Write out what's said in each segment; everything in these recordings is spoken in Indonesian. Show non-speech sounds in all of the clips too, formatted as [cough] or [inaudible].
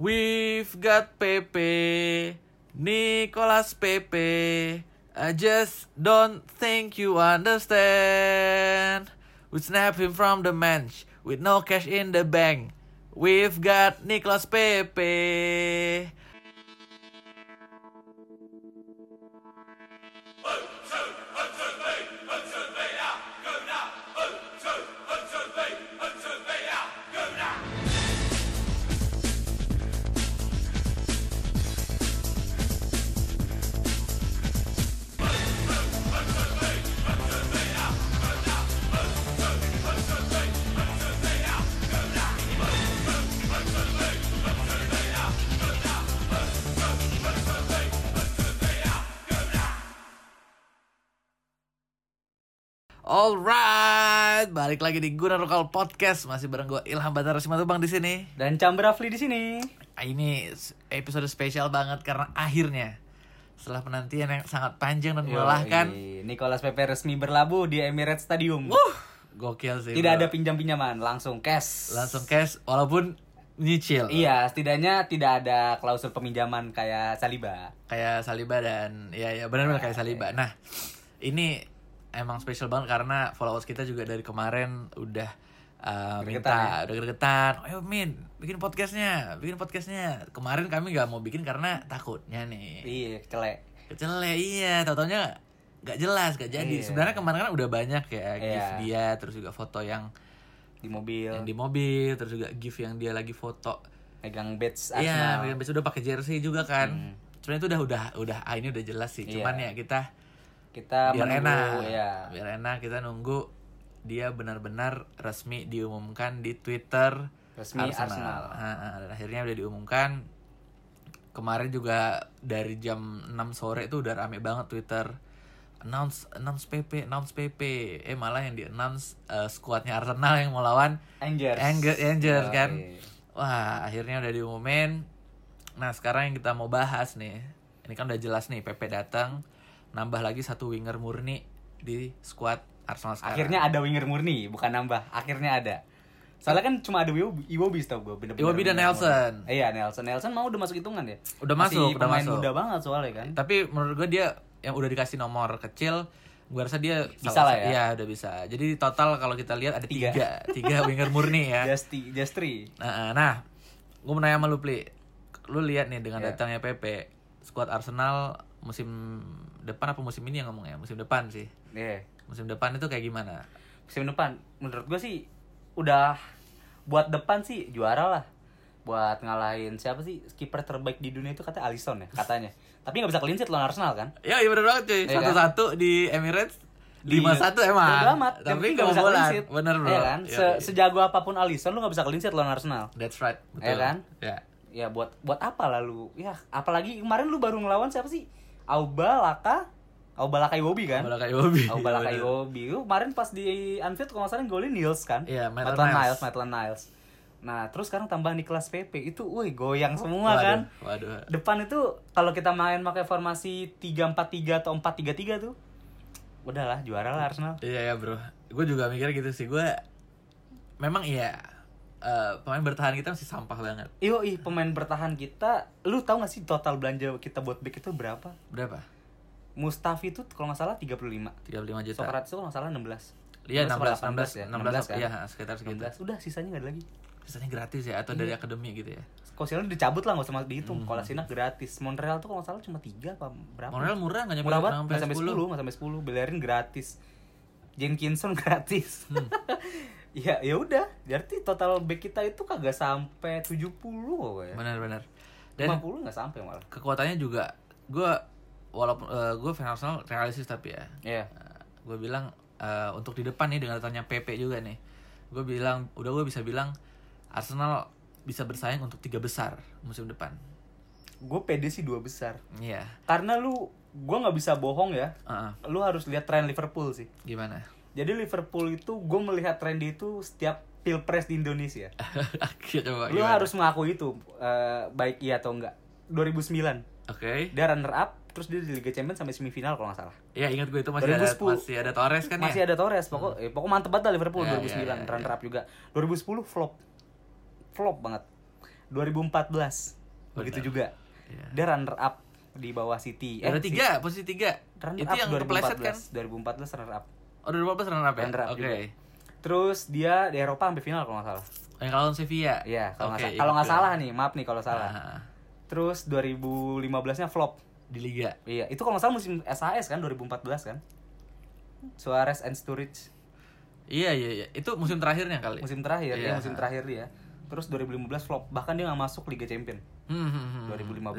We've got Pepe, Nicolas Pepe. I just don't think you understand. We snap him from the bench with no cash in the bank. We've got Nicolas Pepe. Alright, balik lagi di Guna Lokal Podcast masih bareng gue Ilham Batara Simatubang di sini. Dan Cam Rafli di sini. Ah, Ini s- episode spesial banget karena akhirnya setelah penantian yang sangat panjang dan melelahkan, Yoi, kan? Nicolas Pepe resmi berlabuh di Emirates Stadium. wuh, gokil sih. Tidak bro. ada pinjam-pinjaman, langsung cash. langsung cash walaupun nyicil. Iya, setidaknya tidak ada klausul peminjaman kayak Saliba. kayak Saliba dan ya ya Iya, benar-benar kayak Saliba. Nah, ini emang spesial banget karena followers kita juga dari kemarin udah uh, ya? minta udah gregetan. Ayo Min, bikin podcastnya, bikin podcastnya. Kemarin kami nggak mau bikin karena takutnya nih. Iya, celek. Kecele iya, tau-taunya nggak jelas, nggak jadi. Iya. Sebenarnya kemarin kan udah banyak ya Iya. gift dia, terus juga foto yang Di mobil, yang di mobil, terus juga gift yang dia lagi foto megang Iya, badge Arsenal. William Pace udah pakai jersey juga kan. Hmm. Iya. Sebenarnya itu udah udah udah ah ini udah jelas sih. Cuman ya kita Kita biar menunggu, enak. ya. Biar enak kita nunggu dia benar-benar resmi diumumkan di Twitter Resmi Arsenal. Ah, ah, dan akhirnya udah diumumkan. Kemarin juga dari jam 6 sore itu udah rame banget Twitter. Announce announce PP, announce PP. Eh malah yang di announce eh, skuadnya Arsenal yang mau lawan Angers. Anger, Anger Yoi. kan. Wah, akhirnya udah diumumin. Nah, sekarang yang kita mau bahas nih. Ini kan udah jelas nih PP datang, nambah lagi satu winger murni di skuad Arsenal sekarang. Akhirnya ada winger murni, bukan nambah. Akhirnya ada. Soalnya kan cuma ada Iwobi, Iwobi tau gue bener-bener. Iwobi dan winger murni. Nelson. Iya, Nelson. Nelson mau udah masuk hitungan ya? Hmm. Udah Masih masuk, udah pemain masuk. muda banget soalnya kan. Tapi menurut gue dia yang udah dikasih nomor kecil, gue rasa dia Bisa salah- lah ya. Iya, udah bisa. Jadi total kalau kita lihat ada Tiga. Iya. tiga, [laughs] tiga winger murni ya. Justi, Justri. Nah, nah gue mau nanya sama lu, Pli. Lu lihat nih dengan Iya. datangnya PP, skuad Arsenal musim depan apa musim ini yang ngomongnya? Musim depan sih. Iya. Musim depan itu kayak gimana? Musim depan menurut gue sih udah buat depan sih juara lah. Buat ngalahin siapa sih kiper terbaik di dunia itu katanya Alisson ya katanya. Tapi nggak bisa kelincit lawan Arsenal kan? Ya, iya bener banget cuy. Iya Satu-satu di Emirates, lima satu emang. Bodo amat. Yang Tapi penting nggak nggak bisa bobolan. kelincit. Bener bro. Iya kan? Iya, Se- iya. Sejago apapun Alisson lu nggak bisa kelincit lawan Arsenal. That's right. Betul. Iya kan? Ya. Ya buat buat apa lah lu? Ya apalagi kemarin lu baru ngelawan siapa sih? Auba Laka, Auba Laka Iwobi kan? Bola kayak Bobby. Oh, Iya, Balak Bener. Iwobi. Lu Kemarin pas di Anfield kalau nggak salah yang golin Niels kan? Iya, Maitland Maitland Niles. Niles. Maitland Niles. Nah, terus sekarang tambah di kelas PP itu woi goyang semua Waduh, kan. Waduh. Depan itu kalau kita main pakai formasi 3-4-3 atau 4-3-3 tuh udahlah juara lah Arsenal. Iya ya bro. Gue juga mikir gitu sih. Gue memang iya. eh, pemain bertahan kita masih sampah banget. Iyo, ih pemain bertahan kita, lu tahu gak sih total belanja kita buat back itu berapa? Berapa? Mustafi itu kalau nggak salah 35. 35 juta. Sokrates itu kalau nggak salah 16. Iya 16, 16, 16, 16, 16, kan? iya sekitar segitu. 16. Udah sisanya nggak ada lagi. Sisanya gratis ya atau Iya. dari akademi gitu ya. Kosinak dicabut lah, gak usah dihitung. Kalau Sinak gratis. Montreal tuh kalau nggak salah cuma 3 apa berapa? Moral murah nggak nyampe Murah banget, nggak sampai 10. 10, nggak sampai 10. Bellerin gratis. Jenkinson [laughs] gratis. ya ya udah, berarti total back kita itu kagak sampai 70 kok ya. Benar-benar. Dan 50 nggak sampai malah. kekuatannya juga gue walaupun gue fan Arsenal realistis tapi ya Iya. gue bilang eh, untuk di depan nih dengan datangnya PP juga nih gue bilang udah gue bisa bilang Arsenal bisa bersaing untuk tiga besar musim depan Gue pede sih dua besar. iya Karena lu gua nggak bisa bohong ya. Heeh. Lu harus lihat tren Liverpool sih. gimana [laughs] Jadi Liverpool itu gue melihat tren dia itu setiap Pilpres di Indonesia. Oke, coba Lu gimana? harus mengakui itu eh, baik iya atau enggak. 2009 oke dia runner up terus dia di Liga Champions sampai semifinal kalau nggak salah. ya ingat gue itu masih ada 2010. masih ada Torres kan Masih ya ada Torres pokok eh, pokok mantep banget lah Liverpool Ya, ya, 2009 ya, runner up juga. 2010 flop. Flop banget. 2014 begitu Benar. juga Iya. dia runner up di bawah City Ada Si- tiga, posisi tiga. runner Itu up yang kepleset kan? 2014 2014 runner up Oh, 2015 runner up ya? Runner up Oke. juga. terus dia di Eropa sampai final kalau nggak salah Yang kalau Sevilla. Iya, kalau nggak Oke, sa- kalau nggak ingat salah gue. nih, maaf nih kalau salah. Ah, Terus 2015-nya flop. di liga. Iya, itu kalau nggak salah musim SHS kan 2014 kan. Suarez and Sturridge Iya, iya, iya. Itu musim terakhirnya kali. musim terakhir, Iya. ya musim terakhir dia. Terus 2015 flop, bahkan dia nggak masuk Liga Champion. Hmm, hmm, hmm.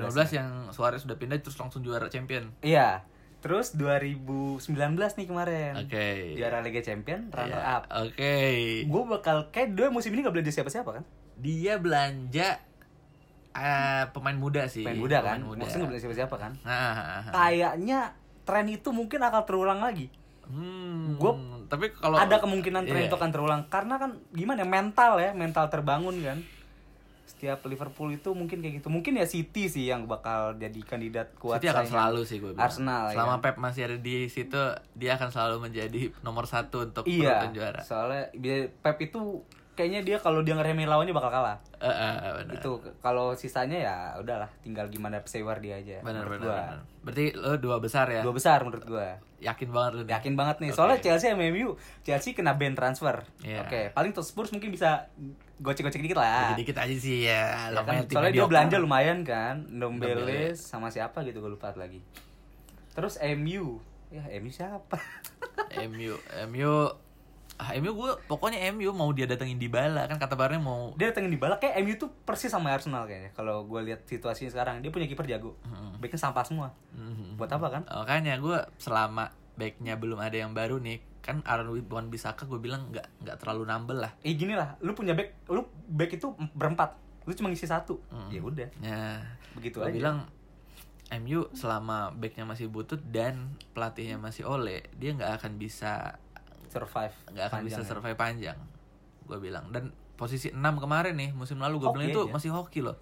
2015 2015 yang Suarez sudah pindah terus langsung juara champion. Iya. Terus 2019 nih kemarin. Oke. Juara Liga Champion, runner Iya, up. Oke. Gue bakal kayak dua musim ini gak belanja siapa-siapa kan? Dia belanja eh, pemain muda sih. Pemain muda kan? Pemain muda. Maksudnya gak belanja siapa-siapa kan? Nah, Kayaknya tren itu mungkin akan terulang lagi. hmm, Gua- tapi kalau ada kemungkinan Iya. tren itu akan terulang karena kan gimana ya, mental ya mental terbangun kan setiap Liverpool itu mungkin kayak gitu mungkin ya City sih yang bakal jadi kandidat kuat City akan saingan. selalu sih gue bilang. Arsenal, ya Selama kan? Pep masih ada di situ, dia akan selalu menjadi nomor satu untuk iya perebutan juara. soalnya dia- Pep itu kayaknya dia kalau dia ngeremehin lawannya bakal kalah Eh, eh, eh, benar. itu kalau sisanya ya udahlah tinggal gimana sewer dia aja Benar, benar, menurut gua. benar. Berarti lo dua besar ya? Iya, dua besar menurut gua Yakin banget lo nih. yakin banget nih soalnya Chelsea sama MU Chelsea kena ban transfer Iya. oke paling tuh Spurs mungkin bisa gocek-gocek dikit lah Dikit-dikit aja sih ya. Ah. Ya lumayan kan, tim soalnya dia mediocre. belanja lumayan kan Ndombele Ndombele. sama siapa gitu gue lupa lagi terus MU ya MU siapa [laughs] MU, MU, ah, MU gue pokoknya MU mau dia datengin di bala kan kata barnya mau dia datengin di balak kayak MU tuh persis sama Arsenal kayaknya kalau gue lihat situasinya sekarang dia punya kiper jago Mm-hmm. backnya sampah semua Mhm. buat apa kan makanya gue selama backnya belum ada yang baru nih kan Aaron Wan Bisaka gue bilang nggak nggak terlalu nambel lah eh gini lah lu punya back lu back itu berempat lu cuma ngisi satu ya udah Nah, begitu gua aja bilang MU selama backnya masih butut dan pelatihnya masih oleh dia nggak akan bisa survive nggak akan bisa panjang ya. survive panjang gue bilang dan posisi 6 kemarin nih musim lalu gue Hoki bilang itu aja. masih hoki loh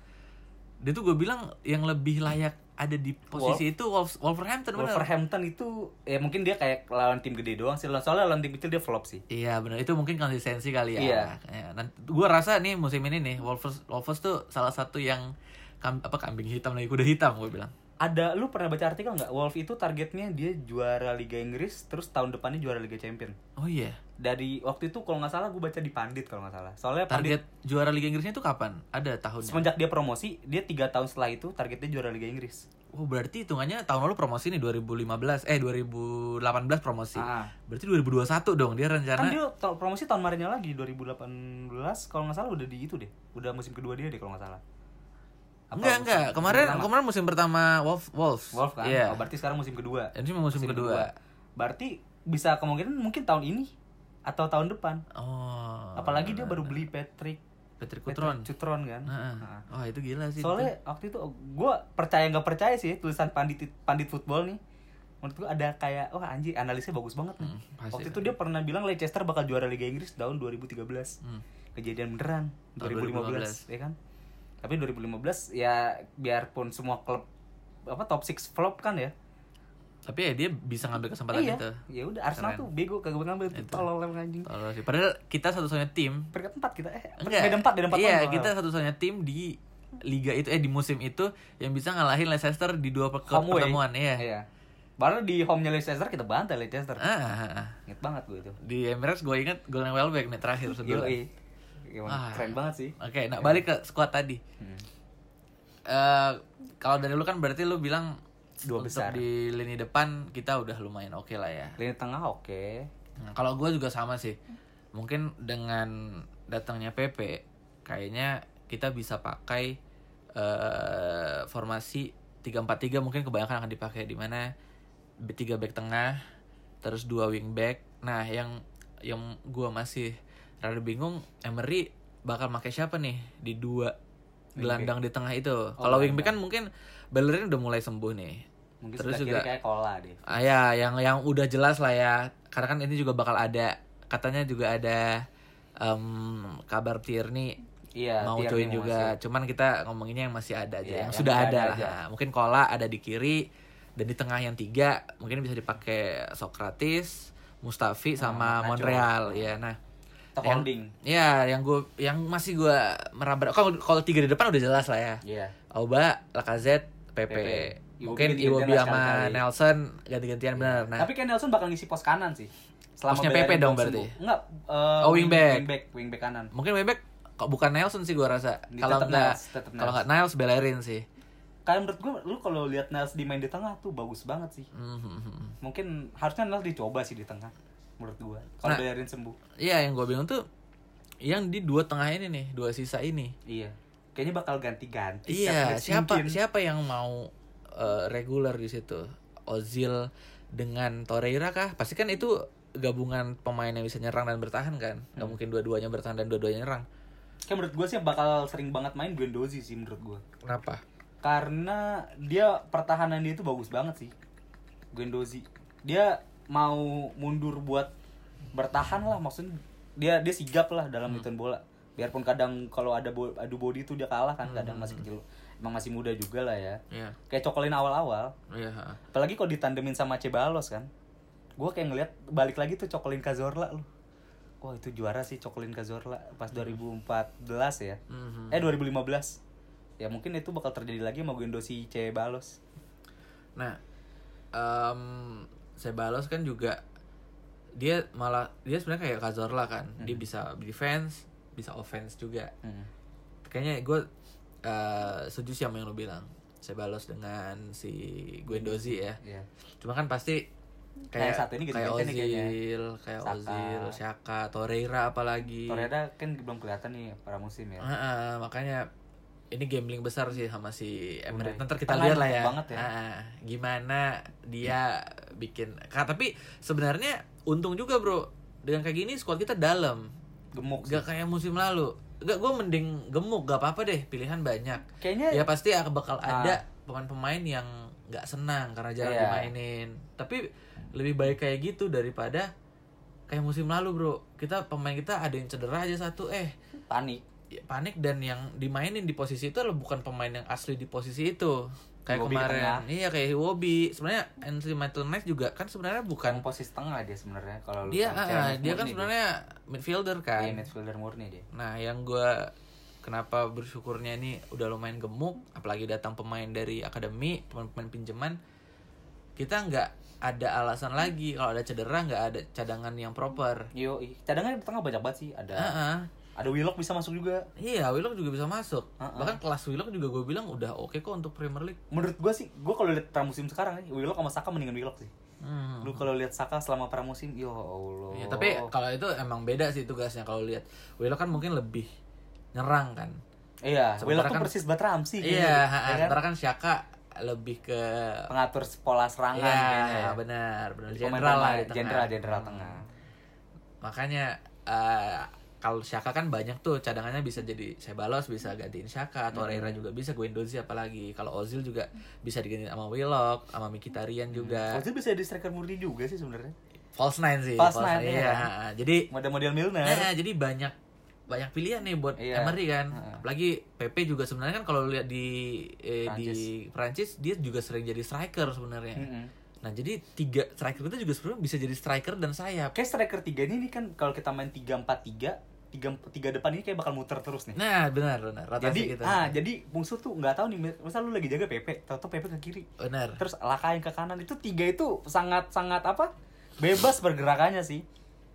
dia tuh gue bilang yang lebih layak ada di posisi itu Wolves, Wolverhampton bener Wolverhampton itu ya mungkin dia kayak lawan tim gede doang sih soalnya lawan tim kecil dia flop sih Iya benar itu mungkin konsistensi kali ya. Iya. Nanti gue rasa nih musim ini nih Wolves Wolves tuh salah satu yang kam- apa kambing hitam lagi kuda hitam gue bilang. ada lu pernah baca artikel nggak Wolf itu targetnya dia juara Liga Inggris terus tahun depannya juara Liga Champion Oh iya. dari waktu itu kalau nggak salah gue baca di Pandit kalau nggak salah soalnya Pandit Target juara Liga Inggrisnya itu kapan? Ada tahunnya. semenjak dia promosi dia tiga tahun setelah itu targetnya juara Liga Inggris Oh berarti hitungannya tahun lalu promosi nih 2015 eh 2018 promosi. Ah. Berarti 2021 dong dia rencana. kan dia to- promosi tahun kemarinnya lagi 2018 kalau nggak salah udah di itu deh udah musim kedua dia deh kalau nggak salah enggak Apa enggak musim- musim kemarin pertama? kemarin musim pertama Wolf Wolves. Wolf kan Iya. oh, berarti sekarang musim kedua Ini cuma musim, kedua. berarti bisa kemungkinan mungkin tahun ini atau tahun depan Oh. apalagi dia baru beli Patrick Patrick Cutron Cutron. Cutron kan Heeh. Nah. Wah, itu gila sih. soalnya waktu itu gue percaya nggak percaya sih tulisan pandit pandit football nih menurut gue ada kayak wah anjir analisnya bagus banget nih Hmm, pasti. waktu itu dia pernah bilang Leicester bakal juara Liga Inggris tahun 2013 Hmm. kejadian beneran Tahun 2015, ya kan tapi 2015 ya biarpun semua klub apa top 6 flop kan ya Tapi ya dia bisa ngambil kesempatan iya itu. ya udah Arsenal Keren. tuh bego kagak ngambil tuh Itu. tolol emang anjing Tolol sih. Padahal kita satu-satunya tim. peringkat empat kita eh Enggak. beda empat beda empat Iya, poin kalau kita nggak satu-satunya tim di liga itu eh di musim itu yang bisa ngalahin Leicester di dua pe- salah. Home away. pertemuan ya. iya baru di home-nya Leicester kita bantai Leicester Ah, ah, ah. Ingat banget gue itu. Di Emirates gue inget golnya Welbeck nih terakhir sebelum. Yoi. Ah. Gimana? Keren banget sih. Hmm. Oke, nah balik ke squad tadi. Eh, kalau dari lu kan berarti lu bilang Dua untuk besar. di lini depan kita udah lumayan oke lah ya. Lini tengah oke. Nah, kalau gue juga sama sih. Mungkin dengan datangnya PP, kayaknya kita bisa pakai eh formasi 3-4-3 mungkin kebanyakan akan dipakai di mana b- tiga back tengah, terus dua wing back. Nah, yang yang gue masih rada bingung Emery bakal pakai siapa nih di dua gelandang di tengah itu. kalau wing back kan mungkin Bellerin udah mulai sembuh nih. Mungkin Terus sebelah juga- kiri kayak kola deh. Ah ya, yang yang udah jelas lah ya. Karena kan ini juga bakal ada katanya juga ada em, kabar Tierney Iya, mau Tierney join mau juga. Cuman kita ngomonginnya yang masih ada aja, Iya, yang, yang sudah ada, udah ada lah. aja. Nah, Mungkin Kola ada di kiri dan di tengah yang tiga mungkin bisa dipakai Socrates, Mustafi sama Nacho. Montreal ya. Nah, Top Yang- holding. Ya, yang gue yang masih gue meraba kalau kalau tiga di depan udah jelas lah ya. Iya. Auba, Lacazette, PP. Pepe. Mungkin Iwobi Iwobi gantian lah sama sekali-kali. Nelson ganti-gantian bener. Nah, Tapi Ken Nelson bakal ngisi pos kanan sih. Posnya belain Pepe dong Johnson berarti? tuh. Enggak. eh, Oh, wingback. Wingback, wingback kanan. mungkin Bebek kok bukan Nelson sih gue rasa. Ini Kalau tetap nggak Niles, tetap kalau Niles. nggak Niles belerin sih. Kayak menurut gue lu kalau lihat Niles di main di tengah tuh bagus banget sih. Mhm. Mungkin harusnya Niles dicoba sih di tengah menurut gue. Kalau Nah. bayarin sembuh. Iya, yang gue bingung tuh yang di dua tengah ini nih, dua sisa ini. Iya. Kayaknya bakal ganti-ganti Iya, setiap siapa match mungkin. siapa yang mau eh, reguler di situ? Ozil dengan Torreira kah? Pasti kan itu gabungan pemain yang bisa nyerang dan bertahan kan? Gak mungkin dua-duanya bertahan dan dua-duanya nyerang. Kayak menurut gue sih bakal sering banget main Guendouzi sih menurut gue. Kenapa? karena dia pertahanan dia itu bagus banget sih Guendouzi dia mau mundur buat bertahan lah maksudnya dia dia sigap lah dalam Hmm. hitungan bola biarpun kadang kalau ada bo- adu body tuh dia kalah kan kadang Hmm. masih kecil emang masih muda juga lah ya Iya, kayak cokolin awal-awal iya. ha. apalagi kalau ditandemin sama Cebalos kan gue kayak ngeliat balik lagi tuh cokolin Cazorla loh wah itu juara sih cokolin Cazorla Hmm. pas 2014 ya Mhm. Eh 2015 Ya mungkin itu bakal terjadi lagi sama Guendo si Cebalos Nah, em Sebalos kan juga dia malah dia sebenarnya kayak Cazorla kan. Dia Mhm. bisa defense, bisa offense juga. Hmm, Kayaknya gue eh setuju sih sama yang lo bilang. Sebalos dengan si Guendouzi ya. Iya. Cuma kan pasti kayak Nah, yang satu ini kayak ganti-gantian nih kayaknya. Ozil, kayak Saka. Ozil, Saka, Torreira apalagi. Torreira kan belum kelihatan nih para musim Ah, ya Heeh, makanya ini gambling besar sih sama si Emirates. Brunei. Nanti kita Tengah lihat lah ya. banget ya. Iya. Heeh, gimana dia bikin. Ka- tapi sebenarnya untung juga, Bro. Dengan kayak gini squad kita dalam. Gemuk sih. Gak kayak musim lalu. Gak gue mending gemuk, gak apa-apa deh, pilihan banyak. Kayaknya Ya pasti akan bakal ada pemain-pemain yang nggak senang karena jarang Ah. Iya. dimainin. Tapi lebih baik kayak gitu daripada kayak musim lalu, Bro. Kita pemain kita ada yang cedera aja satu eh panik ya, panik dan yang dimainin di posisi itu adalah bukan pemain yang asli di posisi itu. Kayak Iwobi kemarin. tengah. Iya kayak Iwobi. Sebenarnya Anthony Maitland-Niles juga kan sebenarnya bukan Kan posisi tengah dia sebenarnya kalau lu dia tahu. ah, Kayak dia murni kan sebenanya midfielder dia. kan. Iya, midfielder murni dia Nah, yang gua kenapa bersyukurnya ini udah lumayan gemuk, apalagi datang pemain dari akademi, pemain-pemain pinjaman, kita nggak ada alasan lagi kalau ada cedera nggak ada cadangan yang proper. Yo, cadangan di tengah banyak banget sih ada Ah, ah. ada Willock bisa masuk juga Iya, Willock juga bisa masuk. Ah, ah. Bahkan kelas Willock juga gue bilang udah oke kok untuk Premier League. menurut gua sih gua kalau lihat pramusim sekarang nih Willock sama Saka mendingan Willock sih Hmm. lu kalau lihat Saka selama pramusim yo Allah Iya, tapi kalau itu emang beda sih tugasnya kalau lihat Willock kan mungkin lebih nyerang kan. iya sementara Willock tuh kan- persis buat Ramsey kayaknya. Iya, ah, ah. Ya kan? sementara kan Shaka lebih ke pengatur pola serangan kayaknya Iya, ya. benar, benar. Pemain Jenderal lah tengah, di tengah. Hmm. jenderal, jenderal tengah. Makanya eh, kalau Shaka kan banyak tuh cadangannya bisa jadi Sebalos bisa gantiin Shaka, Hmm. Torreira juga bisa, Guendouzi apalagi. Kalau Ozil juga bisa digantiin sama Willock, sama Mkhitaryan juga. Ozil bisa di striker murni juga sih sebenarnya. False nine sih, Hmm. False nine, nine, iya iya. kan? Jadi Model-model Milner. nah, jadi banyak banyak pilihan nih buat Kan? Iya. Emery kan. Heeh. Apalagi PP juga sebenarnya kan kalau lu lihat di eh, di Prancis dia juga sering jadi striker sebenarnya. Mm-mm. Nah jadi tiga striker itu juga sebenarnya bisa jadi striker dan sayap. Kayak striker tiga ini nih kan kalau kita main 3-4-3, 3 tiga depan ini kayak bakal muter terus nih. Nah benar benar jadi rotasi gitu. ah jadi musuh tuh nggak tahu nih misal lu lagi jaga PP, tahu-tahu PP ke kiri. Benar. Terus laka yang ke kanan itu tiga itu sangat-sangat apa? Bebas pergerakannya sih.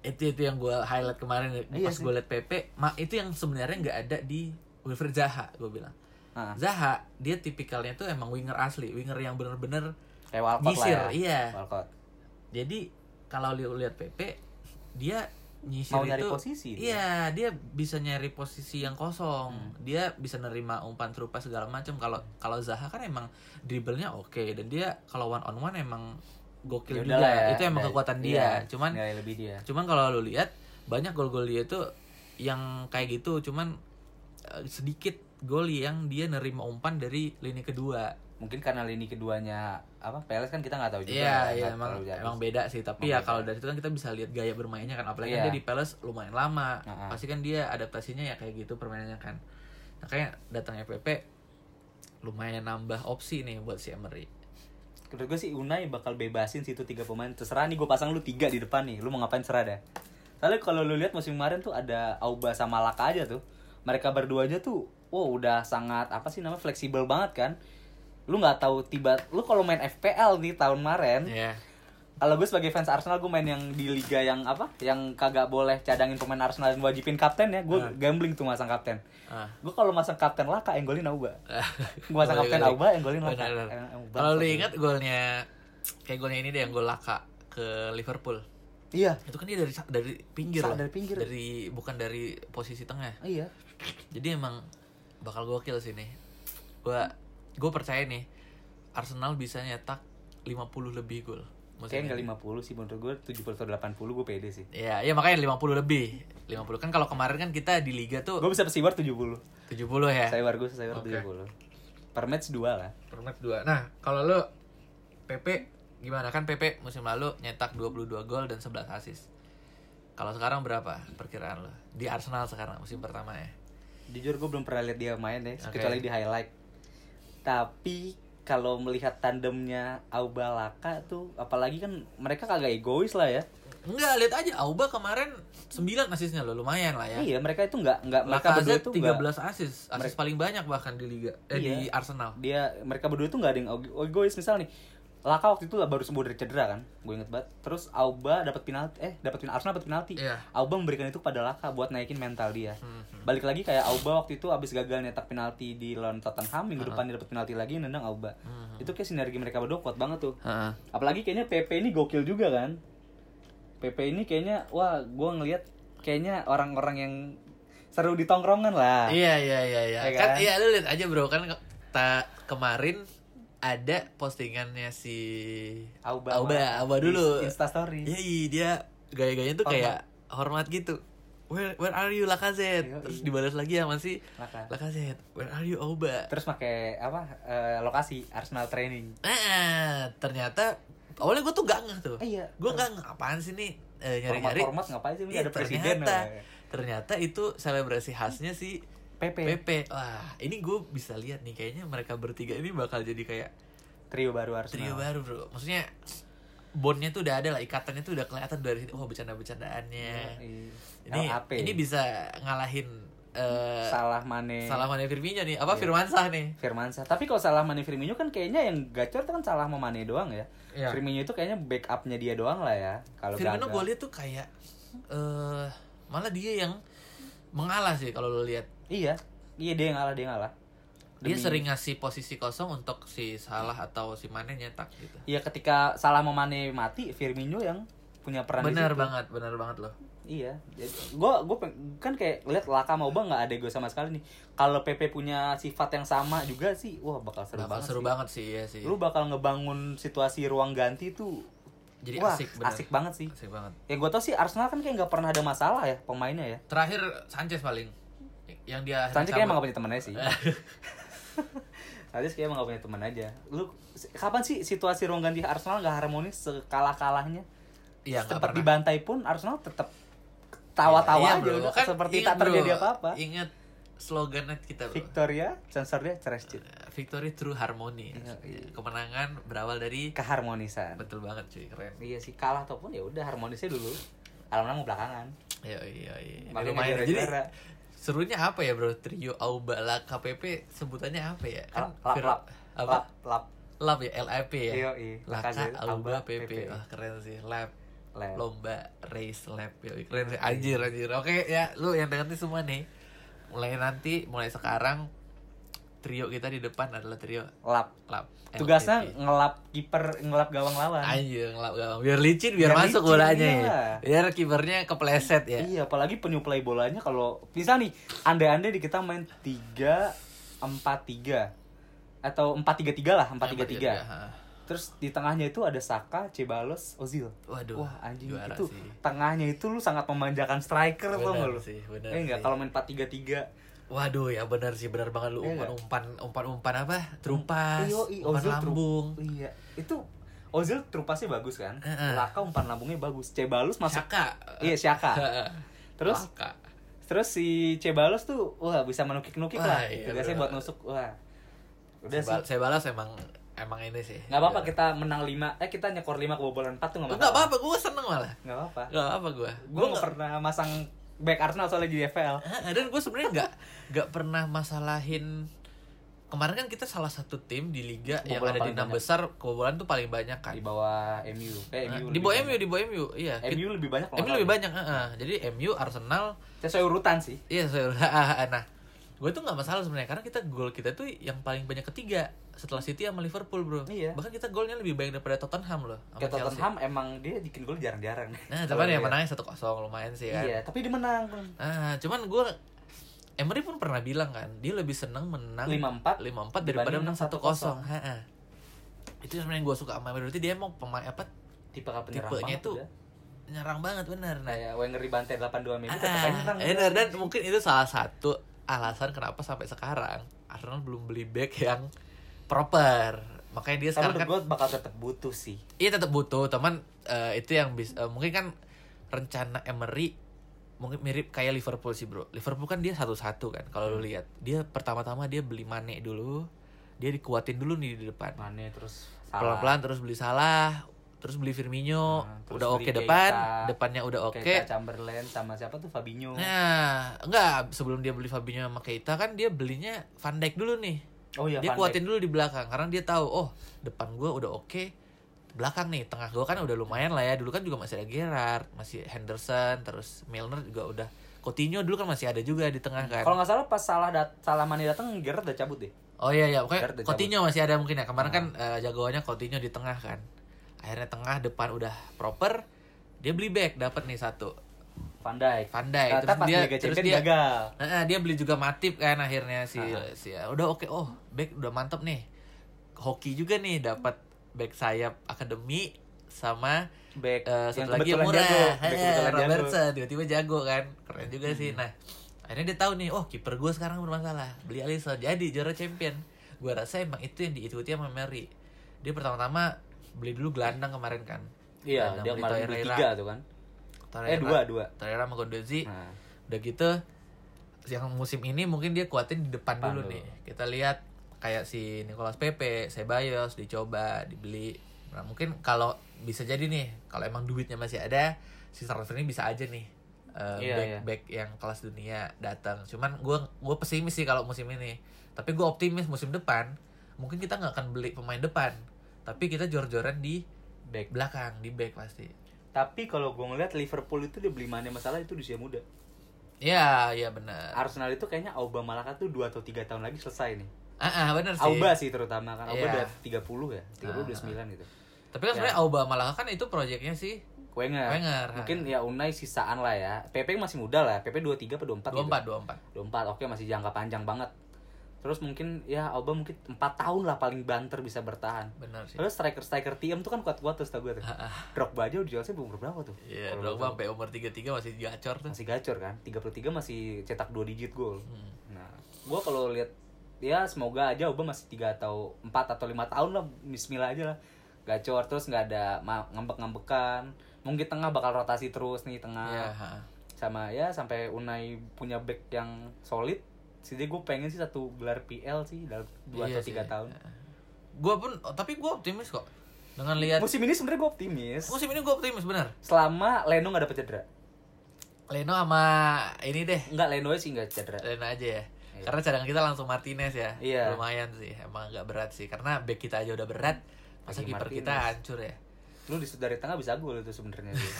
Itu itu yang gue highlight kemarin Iya pas sih. gue liat PP. Ma, itu yang sebenarnya nggak ada di Wilfried Zaha gue bilang. Nah, Zaha dia tipikalnya tuh emang winger asli, winger yang bener-bener kayak Walcott nyisir. lah ya. Iya. Walcott. Jadi kalau lu lihat PP dia nyisir Mau nyari itu posisi dia. Hmm. Iya, dia bisa nyari posisi yang kosong. Dia bisa nerima umpan terupas segala macam. Kalau kalau Zaha kan emang dribblenya oke dan dia kalau one on one emang gokil Yaudah juga. lah ya, Itu emang udah. kekuatan dia. Iya, Cuman nilai lebih dia. cuman kalau lu lihat banyak gol-gol dia tuh yang kayak gitu cuman eh, sedikit gol yang dia nerima umpan dari lini kedua. mungkin karena lini keduanya apa Peles kan kita nggak tahu juga Iya, nggak iya emang terlalu jago. emang beda sih, tapi Emang ya beda. kalau dari itu kan kita bisa lihat gaya bermainnya kan apalagi kan Iya. dia di Palace lumayan lama. Heeh. Pasti kan dia adaptasinya ya kayak gitu permainannya kan. Makanya datangnya PP lumayan nambah opsi nih buat si Emery. menurut gue sih Unai bakal bebasin situ tiga pemain terserah nih gue pasang lu tiga di depan nih lu mau ngapain serah dah Soalnya kalau lu lihat musim kemarin tuh ada Auba sama Laka aja tuh. Mereka berdua aja tuh wow udah sangat apa sih namanya fleksibel banget kan. Lu nggak tahu tiba lu kalau main FPL nih tahun kemarin, Iya. kalau gue sebagai fans Arsenal gue main yang di liga yang apa? Yang kagak boleh cadangin pemain Arsenal dan wajibin kapten ya. Gue Iya. gambling tuh masang kapten. [laughs] Ah. Gue kalau masang kapten Laka yang golin Auba. Gue masang kapten Balik-balik. Auba yang golin Laka. Eh, Benar-benar. Yang- yang iya. Kalau lu bangsat. ingat golnya kayak golnya ini deh yang gol Laka ke Liverpool. Iya. Itu kan dia dari dari pinggir Sa- loh. dari pinggir. Dari bukan dari posisi tengah. Iya. Jadi emang bakal gokil sih nih. Gua gua percaya nih Arsenal bisa nyetak 50 lebih gol. musim Kayaknya ini. nggak 50 sih menurut gue 70 atau 80 gue pede sih. Ya, ya makanya 50 lebih. 50 kan kalau kemarin kan kita di liga tuh Gue bisa pesiwar 70. 70 ya. Saiwar gue saiwar Oke. 70. Per match 2 lah. Permit 2. Nah, kalau lu PP gimana kan PP musim lalu nyetak 22 gol dan 11 assist. Kalau sekarang berapa perkiraan lo? Di Arsenal sekarang musim pertama ya. Jujur gue belum pernah lihat dia main deh, Oke. kecuali di highlight. Tapi kalau melihat tandemnya Aubalaka tuh apalagi kan mereka kagak egois lah ya. Enggak, lihat aja Auba kemarin 9 assistnya lo, lumayan lah ya. Iya, mereka itu nggak nggak mereka berdua Lacazette tuh 13 nggak- assist, assist paling banyak bahkan di liga eh Iya. di Arsenal. dia mereka berdua tuh nggak ada yang ego- egois misal nih. Laka waktu itu lah baru sembuh dari cedera kan, gue inget banget. Terus Auba dapat penalti, eh dapat penalti, Arsenal dapat penalti. Iya. Auba memberikan itu kepada Laka buat naikin mental dia. Balik lagi kayak Auba waktu itu abis gagal nyetak penalti di lawan Tottenham minggu depan dia dapat penalti lagi nendang Auba. Itu kayak sinergi mereka berdua kuat banget tuh. Heeh. Apalagi kayaknya PP ini gokil juga kan. PP ini kayaknya wah gua ngelihat kayaknya orang-orang yang seru di tongkrongan lah. Iya iya iya iya. Iya Kan kan? iya lu lihat aja bro kan ke- ta kemarin ada postingannya si Auba. Auba, Auba dulu. Iya. Insta story. Yoi, dia gaya-gayanya tuh kayak hormat gitu. Where where are you Lacazette? Yoi. Terus dibalas lagi sama si Laka. Lacazette. Where are you Auba? Terus pakai apa eh, lokasi Arsenal training. Nah, ternyata awalnya gue tuh gak ngeh tuh. Eh, iya. Gue gak ngeh apaan sih nih eh, nyari-nyari. Format-format ngapain sih? Iya, ada presiden. ternyata, lah. ternyata itu selebrasi khasnya si PP, PP. Wah, ini gue bisa lihat nih kayaknya mereka bertiga ini bakal jadi kayak trio baru Arsenal. trio baru, Bro. Maksudnya bondnya tuh udah ada lah, ikatannya tuh udah kelihatan dari sini. Wah, bercanda-bercandaannya. Iya. ya. ini LAP. ini bisa ngalahin eh salah Mane. salah Mane Firmino nih Iya. apa Firmansyah nih Firmansyah. Tapi kalau salah Mane Firmino kan kayaknya yang gacor itu kan salah sama Mane doang ya. Iya. Firmino itu kayaknya backupnya dia doang lah ya. Kalau Firmino gagal. gue lihat tuh kayak eh malah dia yang mengalah sih kalau lo lihat Iya. Iya dia yang ngalah, dia yang ngalah. dia Demi- sering ngasih posisi kosong untuk si Salah atau si Mane nyetak gitu Iya ketika salah sama Mane mati, Firmino yang punya peran di benar situ. banget benar banget loh Iya, gue gue kan kayak lihat Laka mau bang nggak ada gue sama sekali nih. Kalau PP punya sifat yang sama juga sih, wah bakal seru bakal banget. seru sih. banget sih ya sih Lu bakal ngebangun situasi ruang ganti tuh. jadi wah, asik benar asik banget sih. asik banget Ya gue tau sih Arsenal kan kayak nggak pernah ada masalah ya pemainnya ya. terakhir Sanchez paling yang dia akhirnya Sanchez kayaknya cabut. emang gak punya temennya sih. Eh. Sanchez kayaknya emang gak punya teman aja. Lu se- kapan sih situasi ruang ganti Arsenal gak harmonis sekalah-kalahnya? [laughs] Iya, nggak Tetap pernah. dibantai pun Arsenal tetap tawa-tawa Iya, aja bro. udah Kan Iya. seperti ingat, tak bro. terjadi apa-apa. ingat slogannya kita bro Victoria, sensornya cerescit. Victory through harmony. Iya, Kemenangan berawal dari Keharmonisan. betul banget cuy, keren. Kan. Iya sih kalah ataupun ya udah harmonisnya dulu. Kalau menang mau belakangan. Ayo iya iya. Makanya Lumayan ya. jadi juara-juara. serunya apa ya bro? Trio Auba La KPP sebutannya apa ya? Kan Lap, lap, Fir- lap. apa? Lap, lap. Lap ya, LAP ya. Iya, iya. Laka Ah. Laka, Auba Auba, PP. PP. Wah, keren sih. Lap. Lap. Lomba race lap ya. Keren Iya. sih. Anjir anjir. Oke ya, lu yang dengerin semua nih. Mulai nanti, mulai sekarang trio kita di depan adalah trio Lap. lap. Tugasnya LAP. ngelap kiper, ngelap gawang lawan. Anjir, ngelap gawang. Biar licin, biar, Biar masuk licin, bolanya ya. iya. Biar kipernya kepleset ya. Iya, apalagi penyuplai bolanya kalau misal nih andai-andai di kita main 3 4 3 atau 4 3 3 lah, 4 3 3. ha. Terus di tengahnya itu ada Saka, Cebalos, Ozil. Waduh. Wah, anjing juara itu sih. tengahnya itu lu sangat memanjakan striker tuh Benar lu. sih, benar Eh enggak sih. kalau main 4-3-3. Waduh ya benar sih benar banget lu umpan Iya nggak? umpan umpan umpan apa? Terumpas, Iyo, i, umpan Iya, Ozil tru- lambung. Iya, itu Ozil trupasnya bagus kan? Heeh. Laka umpan lambungnya bagus. Cebalus masuk. Saka. Iya, [laughs] Saka. Terus Saka. terus si Cebalus tuh wah bisa menukik-nukik Wah, lah. iya, gitu. bener. Tugasnya buat nusuk. Wah. Udah Saya sih. bal- saya balas emang emang ini sih Nggak apa-apa kita menang 5 Eh kita nyekor 5 kebobolan 4 tuh Iya. nggak nggak masalah apa-apa gue seneng malah Nggak apa-apa nggak apa gue Gue nggak pernah masang back Arsenal soalnya di EFL Heeh, dan gue sebenarnya nggak nggak pernah masalahin kemarin kan kita salah satu tim di liga yang ada Kebobolan di paling enam banyak. besar kebobolan tuh paling banyak kan Di bawah MU Eh Nah, MU di lebih bawah banyak. MU di bawah MU iya MU lebih banyak kalau MU nggak lebih salah. banyak heeh. jadi MU Arsenal Sesuai urutan sih iya saya [laughs] nah gue tuh nggak masalah sebenarnya karena kita gol kita tuh yang paling banyak ketiga setelah City sama Liverpool bro Iya. bahkan kita golnya lebih banyak daripada Tottenham loh sama Ke Chelsea. Tottenham emang dia bikin gol jarang-jarang nah cuman ya Kalau menangnya satu kosong lumayan sih lihat. kan Iya tapi dia menang Ah, cuman gue Emery pun pernah bilang kan, dia lebih seneng menang 5-4 5-4 daripada dibanding menang 1-0. 1-0. Ha-ha. Itu sebenarnya gue suka sama Emery, berarti dia emang pemain apa Tipe kapal penyerang tipenya banget tuh dia. nyerang banget bener. Nah, Kayak ya, Wenger di bantai 82 minggu tetap Iya, aja ah, nyerang bener dan mungkin itu salah satu alasan kenapa sampai sekarang Arsenal belum beli back yang proper. Makanya dia Tapi sekarang menurut kan gue bakal tetap butuh sih Iya tetap butuh, teman eh, itu yang bis, eh, mungkin kan rencana Emery mungkin mirip kayak Liverpool sih bro. Liverpool kan dia satu-satu kan kalau Hmm. lu lihat. Dia pertama-tama dia beli Mane dulu, dia dikuatin dulu nih di depan. Mane terus Nah, salah. Pelan-pelan terus beli Salah, terus beli Firmino, Nah, terus udah oke beli depan, Keita. depannya udah oke. Keita Chamberlain sama siapa tuh Fabinho Nah, enggak sebelum dia beli Fabinho sama Keita kan dia belinya Van Dijk dulu nih Oh iya dia Van Dijk. kuatin dulu di belakang karena dia tahu oh depan gue udah oke belakang nih tengah gue kan udah lumayan lah ya dulu kan juga masih ada Gerrard masih Henderson terus Milner juga udah Coutinho dulu kan masih ada juga di tengah kan Kalau nggak salah pas salah dat salah Mane datang Gerrard udah cabut deh. oh iya iya pokoknya Gerrard udah Nah. Coutinho masih ada mungkin ya kemarin kan eh, jagoannya Coutinho di tengah kan akhirnya tengah depan udah proper dia beli back dapat nih satu Van Dijk. Van Dijk. Ternyata Terus pas dia- Liga terus Champions dia- gagal. Nah, dia beli juga Matip kan akhirnya si Ah. si udah oke oh back udah mantep nih. Hoki juga nih dapat back sayap akademi sama Back eh, yang satu lagi yang kebetulan murah. jago. Eh, Back kebetulan jago. Hmm. Robertson tiba-tiba jago kan. Keren juga sih. Nah, akhirnya dia tahu nih, oh kiper gue sekarang bermasalah. Beli Alisson jadi juara champion. Gue rasa emang itu yang diikuti sama Mary. Dia pertama-tama beli dulu gelandang kemarin kan. Gelandang Iya, dia beli kemarin beli Torreira. tiga tuh kan. Torreira. Eh, dua, dua. Torreira sama Gondozi. Nah, Udah gitu yang musim ini mungkin dia kuatin di depan Depan dulu dulu. nih. Kita lihat kayak si Nicolas Pepe, Ceballos dicoba, dibeli. Nah, mungkin kalau bisa jadi nih, kalau emang duitnya masih ada, si transfer ini bisa aja nih. eh, Iya, back iya. back yang kelas dunia datang. Cuman gua gua pesimis sih kalau musim ini. Tapi gua optimis musim depan mungkin kita nggak akan beli pemain depan. Tapi kita jor-joran di back. belakang, di back pasti. Tapi kalau gue ngeliat Liverpool itu dia beli Mane masalah itu di usia muda. Ya, ya benar. Arsenal itu kayaknya Auba Malaka tuh 2 atau 3 tahun lagi selesai nih. Ah, ah, benar sih. Auba sih terutama kan. Auba Iya. Ah. udah 30 ya, 30 29 gitu. Tapi kan sebenarnya Auba malah kan itu proyeknya sih Wenger. Wenger, ha. Mungkin ya Unai sisaan lah ya. PP masih muda lah. PP 23 atau Nah, 24 gitu. 24 24. 24 oke masih jangka panjang banget terus mungkin ya Auba mungkin 4 tahun lah paling banter bisa bertahan Benar sih. terus striker striker TM tuh kan kuat kuat terus tau gue tuh Drogba aja udah jelasnya umur berapa tuh Iya, Kalau Drogba sampai umur 33 masih gacor tuh. masih gacor kan 33 masih cetak 2 digit gol Hmm. nah gue kalau lihat ya semoga aja Auba masih 3 atau 4 atau 5 tahun lah Bismillah aja lah gacor terus nggak ada ma- ngambek-ngambekan mungkin tengah bakal rotasi terus nih tengah Iya, heeh. sama ya sampai Unai punya back yang solid sih gue pengen sih satu gelar PL sih dalam dua Iya atau tiga sih. tahun Gua pun oh, tapi gua optimis kok. Dengan lihat musim ini sebenarnya gue optimis musim ini gua optimis benar. selama Leno nggak dapet cedera Leno sama ini deh. nenggak Leno sih nggak cedera Leno aja ya. Karena cadangan kita langsung Martinez ya. Iya. Lumayan sih, emang agak berat sih. Karena back kita aja udah berat, masa Lagi kiper kita Martinez. hancur ya. lu di dari tengah bisa gol itu [laughs] sebenarnya sih.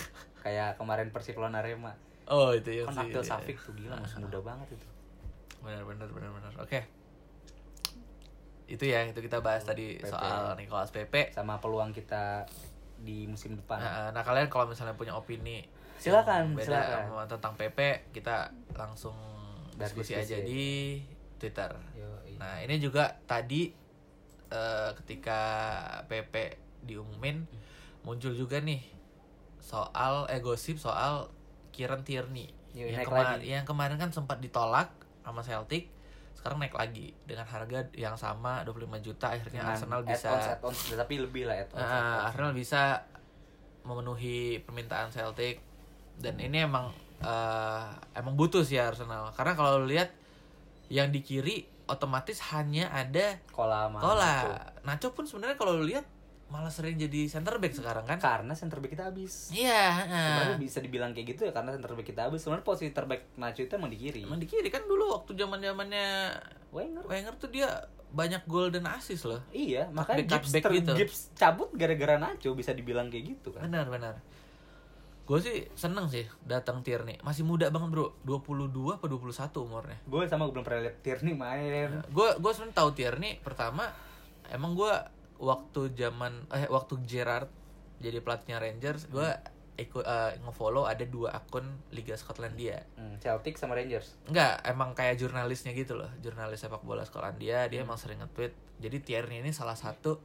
kayak kemarin Persik lawan Arema Oh, itu ya. kan sih. Nah. Abdul Safik tuh gila masih muda banget itu benar benar benar benar oke itu ya itu kita bahas tadi Pepe. soal Nicolas Pepe sama peluang kita di musim depan nah, nah, kalian kalau misalnya punya opini yang Silakan, beda Nah, silakan. sama tentang Pepe kita langsung Dari diskusi, diskusi. aja di Twitter Yoi. nah ini juga tadi eh, ketika Pepe Hmm. diumumin muncul juga nih soal eh gosip soal Kieran Tierney yang, Yoi, Iya, naik kemar- lagi. yang kemarin kan sempat ditolak sama Celtic sekarang naik lagi dengan harga yang sama 25 juta akhirnya Dengan Ya, Arsenal add-ons, bisa add-ons, tapi lebih lah add-ons, Ah, add-ons. Arsenal bisa memenuhi permintaan Celtic dan ini emang eh, emang butuh sih Arsenal karena kalau lu lihat yang di kiri otomatis hanya ada Kola sama Nacho. Kola. Nacho pun sebenarnya kalau lu lihat malah sering jadi center back sekarang kan? Karena center back kita habis. Iya, Sebenarnya heeh. bisa dibilang kayak gitu ya karena center back kita habis. Sebenarnya posisi terbaik Nacho itu emang di kiri. Emang di kiri kan dulu waktu zaman-zamannya Wenger. Wenger tuh dia banyak gol dan assist loh. Iya, Cutback- makanya Gibbs, cutback ter- gitu. Gibbs cabut gara-gara Nacho bisa dibilang kayak gitu kan. Benar, benar. Gue sih seneng sih datang Tierney. Masih muda banget, Bro. 22 apa 21 umurnya. Gue sama gue belum pernah lihat Tierney main. gue gue sebenarnya tahu Tierney pertama emang gue waktu zaman eh waktu Gerard jadi pelatihnya Rangers gue ikut eh, ngefollow ada dua akun Liga Skotlandia Hmm, Celtic sama Rangers. enggak emang kayak jurnalisnya gitu loh jurnalis sepak bola Skotlandia Hmm. dia emang sering nge-tweet jadi Tierney ini salah satu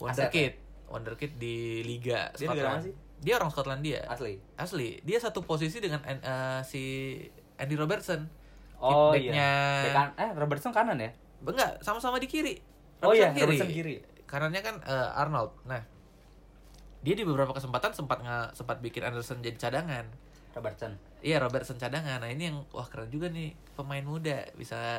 wonderkid wonderkid di Liga ya? Dia negara Skotlandia mana sih? dia orang Skotlandia Asli. asli dia satu posisi dengan eh, si Andy Robertson Oh iya. Backnya- Bek kan- eh Robertson kanan ya? Enggak, sama-sama di kiri. Oh iya, Robertson Robertson kiri. Karenanya kan eh, Arnold. Nah, dia di beberapa kesempatan sempat nge, sempat bikin Anderson jadi cadangan. Robertson. Iya, Robertson cadangan. Nah, ini yang wah keren juga nih pemain muda bisa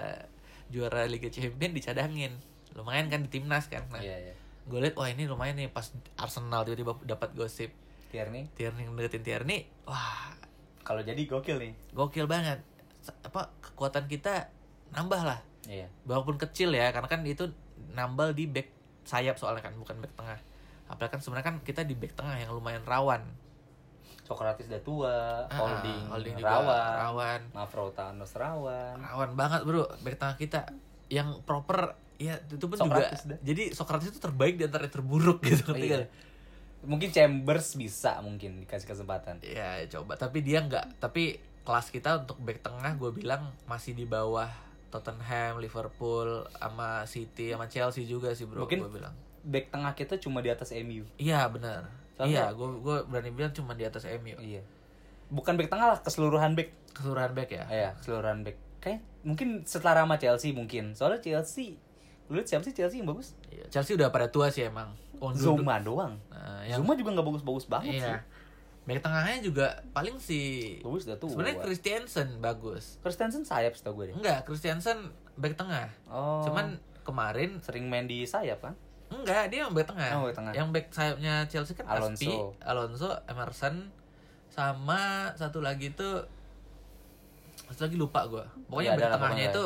juara Liga Champion dicadangin. Lumayan kan di timnas kan. Nah, Iya, iya. gue liat wah ini lumayan nih pas Arsenal tiba-tiba dapat gosip Tierney Tierney ngedeketin Tierney. Wah, kalau jadi gokil nih. gokil banget. Sa- Apa kekuatan kita nambah lah. Iya. walaupun kecil ya karena kan itu nambal di back sayap soalnya kan bukan back tengah apalagi kan sebenarnya kan kita di back tengah yang lumayan rawan Socrates udah tua, Ah, Holding, juga Rawan, rawan Mafrotanos Rawan. rawan banget bro back tengah kita yang proper ya itu pun Socrates juga dah. jadi Socrates itu terbaik di antara yang terburuk gitu ngerti Iya. nggak? Mungkin Chambers bisa mungkin dikasih kesempatan. ya coba tapi dia nggak tapi kelas kita untuk back tengah gue bilang masih di bawah Tottenham, Liverpool, sama City, sama Chelsea juga sih bro, Mungkin- gue bilang. Back tengah kita cuma di atas MU. Iya benar. Soalnya- Iya, gue gue berani bilang cuma di atas MU. Iya. Bukan back tengah lah, keseluruhan back. keseluruhan back ya. Iya, keseluruhan back. Kayak mungkin setara sama Chelsea mungkin. Soalnya Chelsea lu lihat siapa sih Chelsea yang bagus? Iya, Chelsea udah pada tua sih emang. Oh, dulu- Zuma doang. Nah, yang Zuma juga nggak bagus-bagus banget iya. sih. Back tengahnya juga paling si Bagus udah tua. sebenarnya Christiansen bagus. Christensen sayap setahu gue deh. Enggak, Christiansen back tengah. Oh. Cuman kemarin sering main di sayap kan? enggak dia yang back tengah. Oh, back tengah. Yang back sayapnya Chelsea kan Alonso. Aspi, Alonso, Emerson sama satu lagi tuh satu lagi lupa gua. Pokoknya Iya, back ada lah tengahnya pokoknya. itu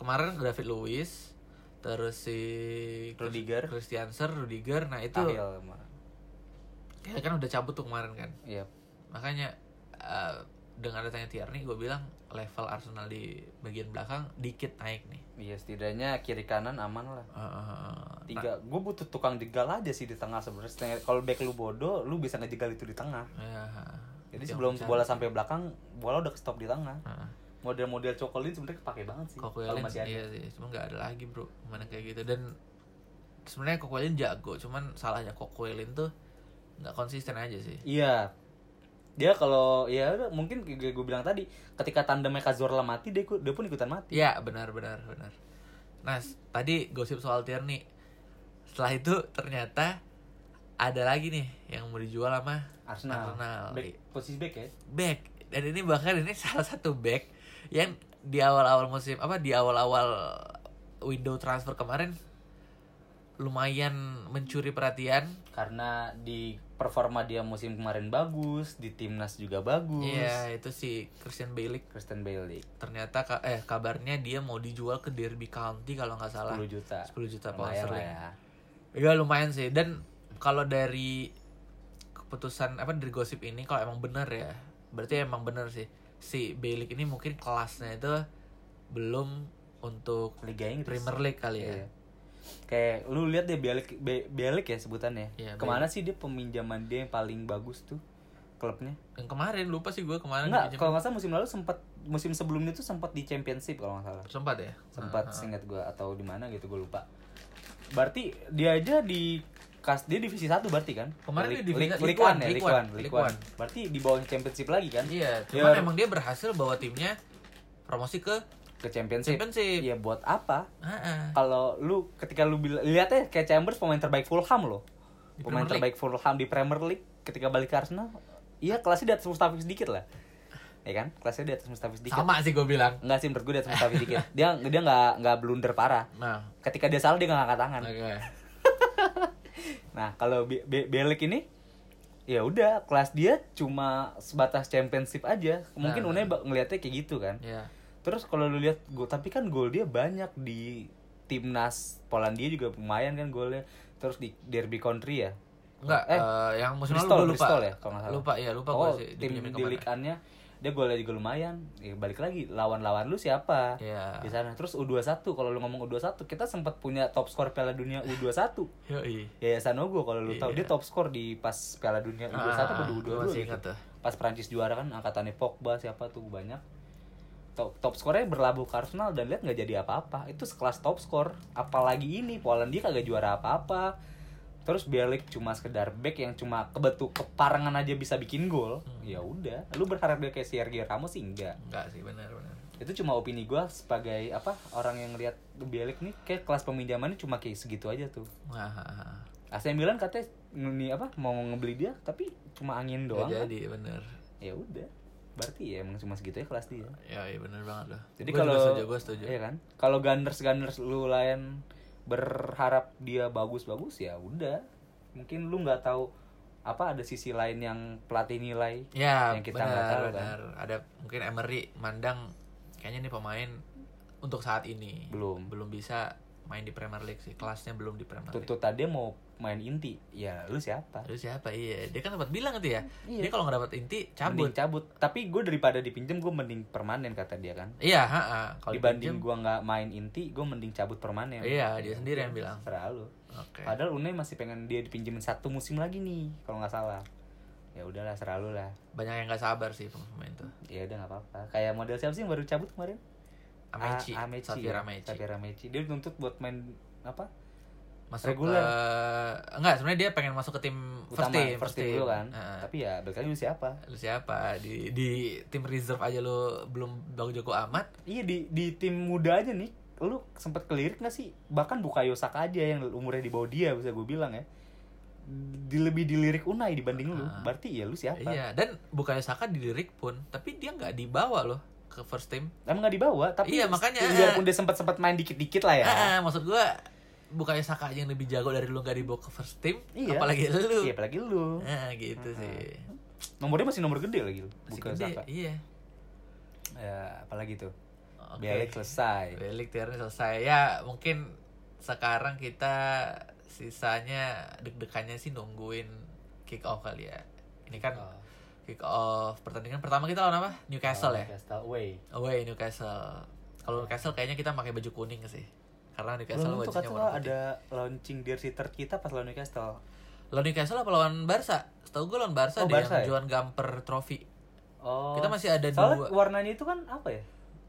kemarin David Luiz terus si Rudiger. Christiansen, Rudiger. Nah, itu Tahil sama- Ya kan udah cabut tuh kemarin kan. Iya. Makanya eh, dengan adanya Tierney gue bilang level Arsenal di bagian belakang dikit naik nih. Iya, setidaknya kiri kanan aman lah. Eh, eh, eh, Tiga, gue butuh tukang jegal aja sih di tengah sebenarnya. Setengah- Kalau back lu bodoh, lu bisa ngejegal itu di tengah. ya, itu Jadi yang sebelum bisa. bola sampai belakang, bola udah stop di tengah. Heeh. Model-model cokolin sebenarnya kepake banget sih. Kokuelin masih ada. iya sih, cuma nggak ada lagi bro, mana kayak gitu dan sebenarnya Kokuelin jago, cuman salahnya Kokuelin tuh nggak konsisten aja sih. Iya. Dia kalau ya udah, mungkin kayak gue bilang tadi, ketika tandemnya Cazorla mati, dia, ikut- dia pun ikutan mati. Iya benar benar benar. Nah s- tadi gosip soal Tierney, setelah itu ternyata ada lagi nih yang mau dijual sama Arsenal. Arsenal. Back, posisi back ya. back dan ini bahkan ini salah satu back yang di awal-awal musim apa di awal-awal window transfer kemarin lumayan mencuri perhatian Karena di performa dia musim kemarin bagus, di timnas juga bagus. Iya itu si Christian Bale Kristen Bailey ternyata ka- eh kabarnya dia mau dijual ke Derby County kalau nggak salah 10 juta. 10 juta pound Lumayan lah sterling. ya. Ya lumayan sih dan kalau dari keputusan apa dari gosip ini kalau emang bener ya berarti emang bener sih si Bielik ini mungkin kelasnya itu belum untuk Liga Inggris. Premier League kali ya. Iya. Kayak lu lihat deh Bielik Be- Bielik ya sebutannya. Iya, Kemana sih dia peminjaman dia yang paling bagus tuh klubnya? Yang kemarin lupa sih gue kemarin Enggak, dipinjam- kalau nggak salah musim lalu sempat musim sebelumnya tuh sempat di Championship kalau nggak salah. sempat ya. Sempat singkat gua atau di mana gitu gue lupa. Berarti dia aja di kas dia divisi 1 berarti kan? Kemarin dia League- divisi- League- League League One One, ya, League League One, One, League League One. One. Berarti di bawah Championship lagi kan? Iya, Dia cuman emang dia berhasil bawa timnya promosi ke ke Championship. Championship. Ya buat apa? Heeh. kalau lu ketika lu bila- lihat ya kayak Chambers pemain terbaik Fulham loh. Di pemain Premier terbaik Fulham di Premier League ketika balik ke Arsenal, iya kelasnya di atas Mustafi sedikit lah. ya kan kelasnya di atas Mustafi sedikit Sama sih gue bilang. Enggak sih menurut gue di atas Mustafi [laughs] sedikit dia dia nggak nggak blunder parah Nah, ketika dia salah dia nggak ngangkat tangan oke. nah kalau Be- Be- Belek ini ya udah kelas dia cuma sebatas championship aja mungkin Nah. Unai ba- ngelihatnya kayak gitu kan Ya. terus kalau lu lihat gol tapi kan gol dia banyak di timnas Polandia juga lumayan kan golnya terus di derby country ya Enggak, Eh, eh, yang musim lalu Bristol, gue lupa. Bristol ya, kalau nggak salah. lupa, iya lupa oh gue sih. tim dipinjemin di kemana. Ligue-annya, dia golnya juga lumayan ya, balik lagi lawan-lawan lu siapa Iya. di sana terus U21 kalau lu ngomong U21 kita sempat punya top skor Piala Dunia U21 Yoi. Yayasan Ogo kalau lu tahu dia top skor di pas Piala Dunia U21 atau Iya. Ah, gua U22 masih gitu. ingat tuh. Pas Prancis juara kan angkatannya Pogba siapa tuh banyak. Top top skornya berlabuh ke Arsenal dan lihat nggak jadi apa-apa. Itu sekelas top skor. Apalagi ini Polandia kagak juara apa-apa. Terus Bielik cuma sekedar back yang cuma kebetu keparangan aja bisa bikin gol. Ya udah, lu berharap dia kayak Sergio Ramos sih enggak Enggak sih, benar benar. itu cuma opini gue sebagai apa orang yang lihat Bielik nih kayak kelas peminjamannya cuma kayak segitu aja tuh Wah, ah, ah. AC Milan katanya ini apa mau ngebeli dia tapi cuma angin Nggak doang. kan. jadi, bener. Ya udah. Berarti ya emang cuma segitu ya kelas dia. Ya, iya bener banget loh. Jadi Gua kalau juga setuju, gue setuju. Iya kan? Kalau Gunners Gunners lu lain berharap dia bagus-bagus ya udah. Mungkin lu nggak tahu apa ada sisi lain yang pelatih nilai Ya, yang kita nggak benar, tahu kan. benar. Ada mungkin Emery mandang kayaknya nih pemain untuk saat ini Belum. belum bisa main di Premier League sih. Kelasnya belum di Premier League. Tuntut tadi mau main inti, ya lu siapa? Terus siapa? Iya, dia kan sempat bilang itu ya. Iya. Dia kalau nggak dapat inti cabut. Mending cabut. Tapi gue daripada dipinjem gue mending permanen kata dia kan. Iya, ha, ha. Kalau dipinjem, Dibanding gue nggak main inti, gue mending cabut permanen. Iya, dia sendiri yang bilang. Serah lu. Oke. Padahal Unai masih pengen dia dipinjemin satu musim lagi nih, kalau nggak salah. Ya udahlah, serah lu lah. Banyak yang nggak sabar sih pemain tuh. Ya udah nggak apa-apa. Kayak model siapa sih yang baru cabut kemarin? Amechi, A- Amechi. Xavier ya? Amechi. Xavier Amechi. Dia dituntut buat main apa? Masuk Reguler. ke enggak, sebenarnya dia pengen masuk ke tim first Utama, team, first team dulu kan. Heeh. Tapi ya balik lagi lu siapa? Lu siapa? Di di tim reserve aja lu belum bagus-jago amat. Iya di di tim muda aja nih. Lu sempet kelirik nggak sih? Bahkan Bukayo Saka aja yang umurnya di bawah dia bisa gue bilang ya. Di lebih dilirik Unai dibanding lu. Ah. Berarti ya lu siapa? Iya, dan bukannya Saka dilirik pun, tapi dia nggak dibawa loh ke first team. Emang nggak dibawa, tapi Iya, makanya, ya, eh. biarpun dia sempet-sempet main dikit-dikit lah ya. Ah, ah, maksud gua bukannya Saka aja yang lebih jago dari lu nggak dibawa ke first team, Iya. apalagi lu. Iya, apalagi lu. Ah, gitu Ah, sih. Nomornya masih nomor gede lagi lu. Si Bukan gede, Saka. Iya. Ya, apalagi tuh. Oke. Bielik selesai. Belik tiarnya selesai. Ya, mungkin sekarang kita sisanya deg-degannya sih nungguin kick off kali ya. Ini kan kick off pertandingan pertama kita lawan apa? Newcastle ya. Newcastle away. Away Newcastle. Kalau Newcastle kayaknya kita pakai baju kuning sih. Karena Newcastle Belum tuh bajunya kata warna putih. Hmm, ada launching jersey third kita pas lawan Newcastle. Lawan Newcastle apa lawan Barca? Setahu gue lawan Barca Oh, deh Barca ya? yang Johan Gamper Trophy. Oh. Kita masih ada dua. Soalnya warnanya itu kan apa ya?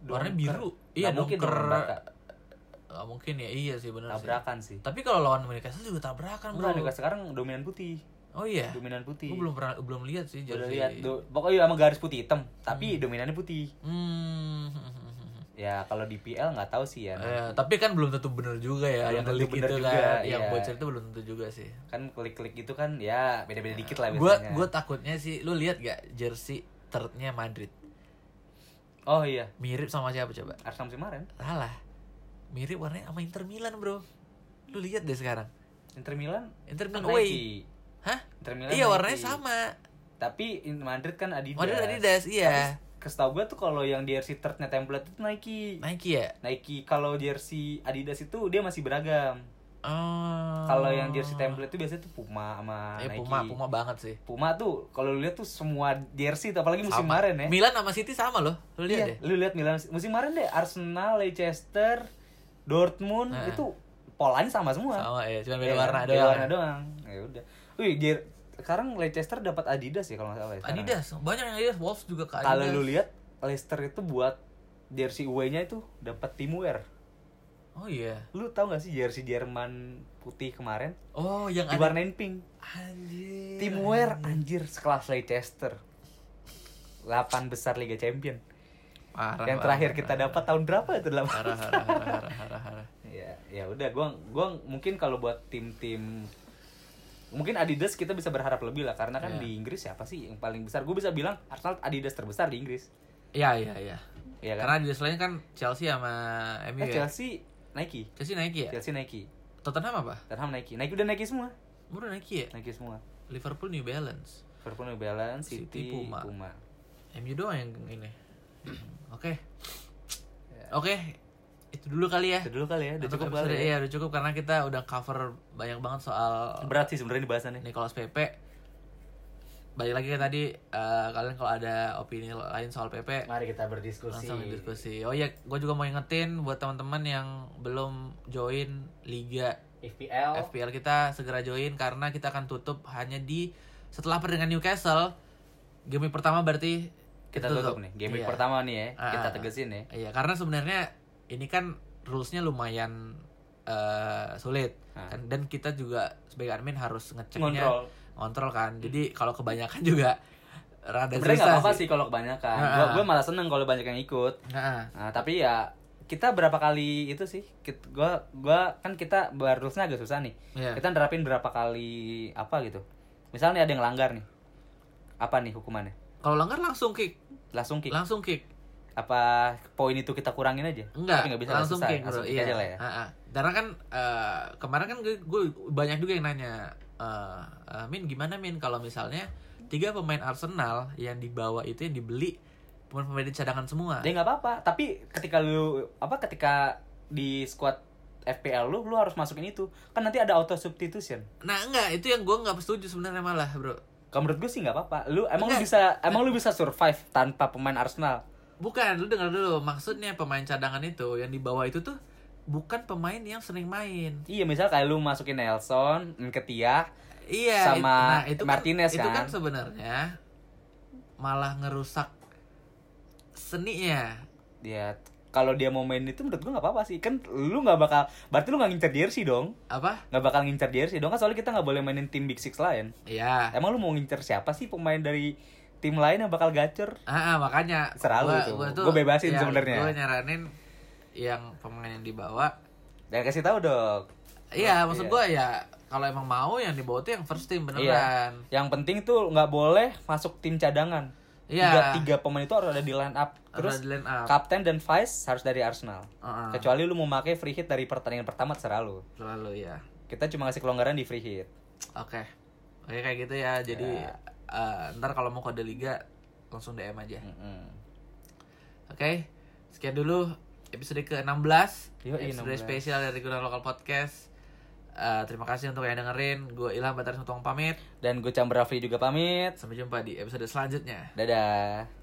Warnanya Dunker. biru. Iya, Nggak mungkin dunker. dong Barca. Nggak mungkin ya, iya sih benar sih. Tabrakan sih. Tapi kalau lawan Newcastle juga tabrakan, Enggak, Bro. Newcastle sekarang dominan putih. Oh iya. Dominan putih. Gue belum pernah belum lihat sih Udah jersey. lihat do- pokoknya sama garis putih hitam, tapi dominannya putih. Hmm. Ya kalau di PL nggak tahu sih ya. Eh, tapi kan belum tentu bener juga ya Belum yang tentu klik bener itu juga, kan, yang iya. bocor itu belum tentu juga sih. kan klik-klik gitu kan ya beda-beda dikit lah Gue biasanya. gue takutnya sih, lu lihat gak jersey thirdnya Madrid Oh iya, mirip sama siapa coba? Arsenal musim kemarin Salah. Mirip warnanya sama Inter Milan, Bro. Lu lihat deh sekarang. Inter Milan Inter kan Milan away. Nike. Hah? Inter Milan Iya, Nike. warnanya sama. Tapi in- Madrid kan Adidas. Model Adidas, iya. Kestau gue tuh kalau yang jersey thirdnya template itu Nike. Nike ya? Nike kalau jersey Adidas itu dia masih beragam. Oh. Kalau yang jersey template itu biasanya tuh Puma sama Eh, Nike. Puma, Puma banget sih. Puma tuh kalau lu lihat tuh semua jersey tuh, apalagi musim Sama. kemarin ya. Milan sama City sama loh. Lu lihat deh. Iya, lu lihat Milan musim kemarin deh Arsenal, Leicester, Dortmund Heeh. itu polanya sama semua. Nah. Sama ya, cuma beda Iya, warna beda doang. warna doang. Ya udah. Wih, jer- sekarang Leicester dapat Adidas ya kalau nggak salah. ya sekarang. Adidas, banyak yang Adidas, Wolves juga ke Adidas. Kalau lu lihat Leicester itu buat jersey away-nya itu dapat timwear. Oh iya. Lu tahu nggak sih jersey Jerman putih kemarin Oh, yang ada Iya. diwarnain pink. anjir. Timwear anjir sekelas Leicester. 8 besar Liga Champion. Parah, Yang parah, terakhir parah. kita dapat tahun berapa itu? Iya, Delapan- Parah, parah, parah, parah, parah, parah. ya ya udah gua gua mungkin kalau buat tim-tim mungkin Adidas kita bisa berharap lebih lah karena kan Iya. di Inggris siapa sih yang paling besar? Gue bisa bilang Arsenal Adidas terbesar di Inggris. Iya iya iya. Iya kan? Karena di selain kan Chelsea sama MU Eh, ya. Chelsea Nike. Chelsea Nike ya. Chelsea Nike. Tottenham apa? Tottenham Nike. Nike udah Nike semua. Murah Nike ya. Nike semua. Liverpool New Balance. Liverpool New Balance, City, City, Puma. Puma. MU doang yang ini. [clears throat] Oke. Ya. Oke. Itu dulu kali ya. Itu dulu kali ya, udah Untuk cukup episode- kali ya. Iya, udah cukup karena kita udah cover banyak banget soal Berat sih sebenarnya ini bahasannya. Nicholas Pepe. Balik lagi ke tadi eh, kalian kalau ada opini lain soal Pepe Mari kita berdiskusi. langsung diskusi. Oh iya, gue juga mau ingetin buat teman-teman yang belum join liga FPL. FPL kita segera join karena kita akan tutup hanya di setelah pertandingan Newcastle. Game week pertama berarti Kita tutup nih. Game week pertama nih ya. Ah, Kita ah, tegesin ya. Iya, karena sebenarnya ini kan rulesnya lumayan eh, sulit Ah. kan dan kita juga sebagai admin harus ngeceknya Ngontrol. ngontrol kan. Jadi kalau kebanyakan juga rada Sebenarnya susah nggak apa-apa sih kalau kebanyakan. Ah, Gua ah. gua malah seneng kalau banyak yang ikut. Nah, Nah, tapi ya kita berapa kali itu sih? Kit- Gua gua kan kita barusnya agak susah nih. Iya. Kita nerapin berapa kali apa gitu. Misalnya ada yang langgar nih. Apa nih hukumannya? kalau langgar langsung kick, Langsung kick. langsung kick. apa poin itu kita kurangin aja? Enggak, Tapi nggak bisa lah, langsung susah. kick bro. Langsung kick Iya. aja lah ya. Ah, ah. Karena kan eh, kemarin kan gue banyak juga yang nanya, eh, eh, Min gimana Min kalau misalnya tiga pemain Arsenal yang dibawa itu yang dibeli pemain-pemain cadangan semua. Dia nggak apa-apa, tapi ketika lu apa ketika di squad FPL lu lu harus masukin itu. Kan nanti ada auto substitution. Nah enggak, itu yang gue nggak setuju sebenarnya malah bro. Kalau menurut gue sih nggak apa-apa. Lu emang lu Enggak. bisa emang lu bisa survive tanpa pemain Arsenal. Bukan, lu dengar dulu maksudnya pemain cadangan itu yang dibawa itu tuh bukan pemain yang sering main. Iya, misal kayak lu masukin Nelson, Nketiah, Iya, Sama itu Martinez, kan, itu kan kan? sebenarnya malah ngerusak seninya. dia kalau dia mau main itu menurut gue nggak apa-apa sih. Kan lu nggak bakal berarti lu nggak ngincer jersey dong. Apa? Nggak bakal ngincer jersey dong. Kan soalnya kita nggak boleh mainin tim Big Six lain. Iya. Emang lu mau ngincer siapa sih pemain dari tim lain yang bakal gacor? Ah, ah, makanya Serah lu gua- itu. gua tuh- Gua bebasin ya, sebenarnya. Gua nyaranin yang pemain yang dibawa. Dan kasih tahu dong. Iya, Oh, maksud iya. gua ya kalau emang mau yang dibawa tuh yang first team beneran. Yang penting tuh nggak boleh masuk tim cadangan. Iya. Tiga, tiga pemain itu harus ada di line up. Terus Terus line up. Ah. kapten dan vice harus dari Arsenal. Heeh. Kecuali lu mau pakai free hit dari pertandingan pertama terserah lu. Selalu ya. Kita cuma ngasih kelonggaran di free hit. Oke. Oke kayak gitu ya. Jadi Ya. eh, ntar kalau mau kode liga langsung DM aja. Mm-mm. Oke. Sekian dulu episode ke-16. Yoi, Episode 16. spesial dari Gudang Lokal Podcast. Eh, terima kasih untuk yang dengerin. Gue Ilham Batara Sutong pamit. Dan gue Chamber Rafli juga pamit. Sampai jumpa di episode selanjutnya. Dadah.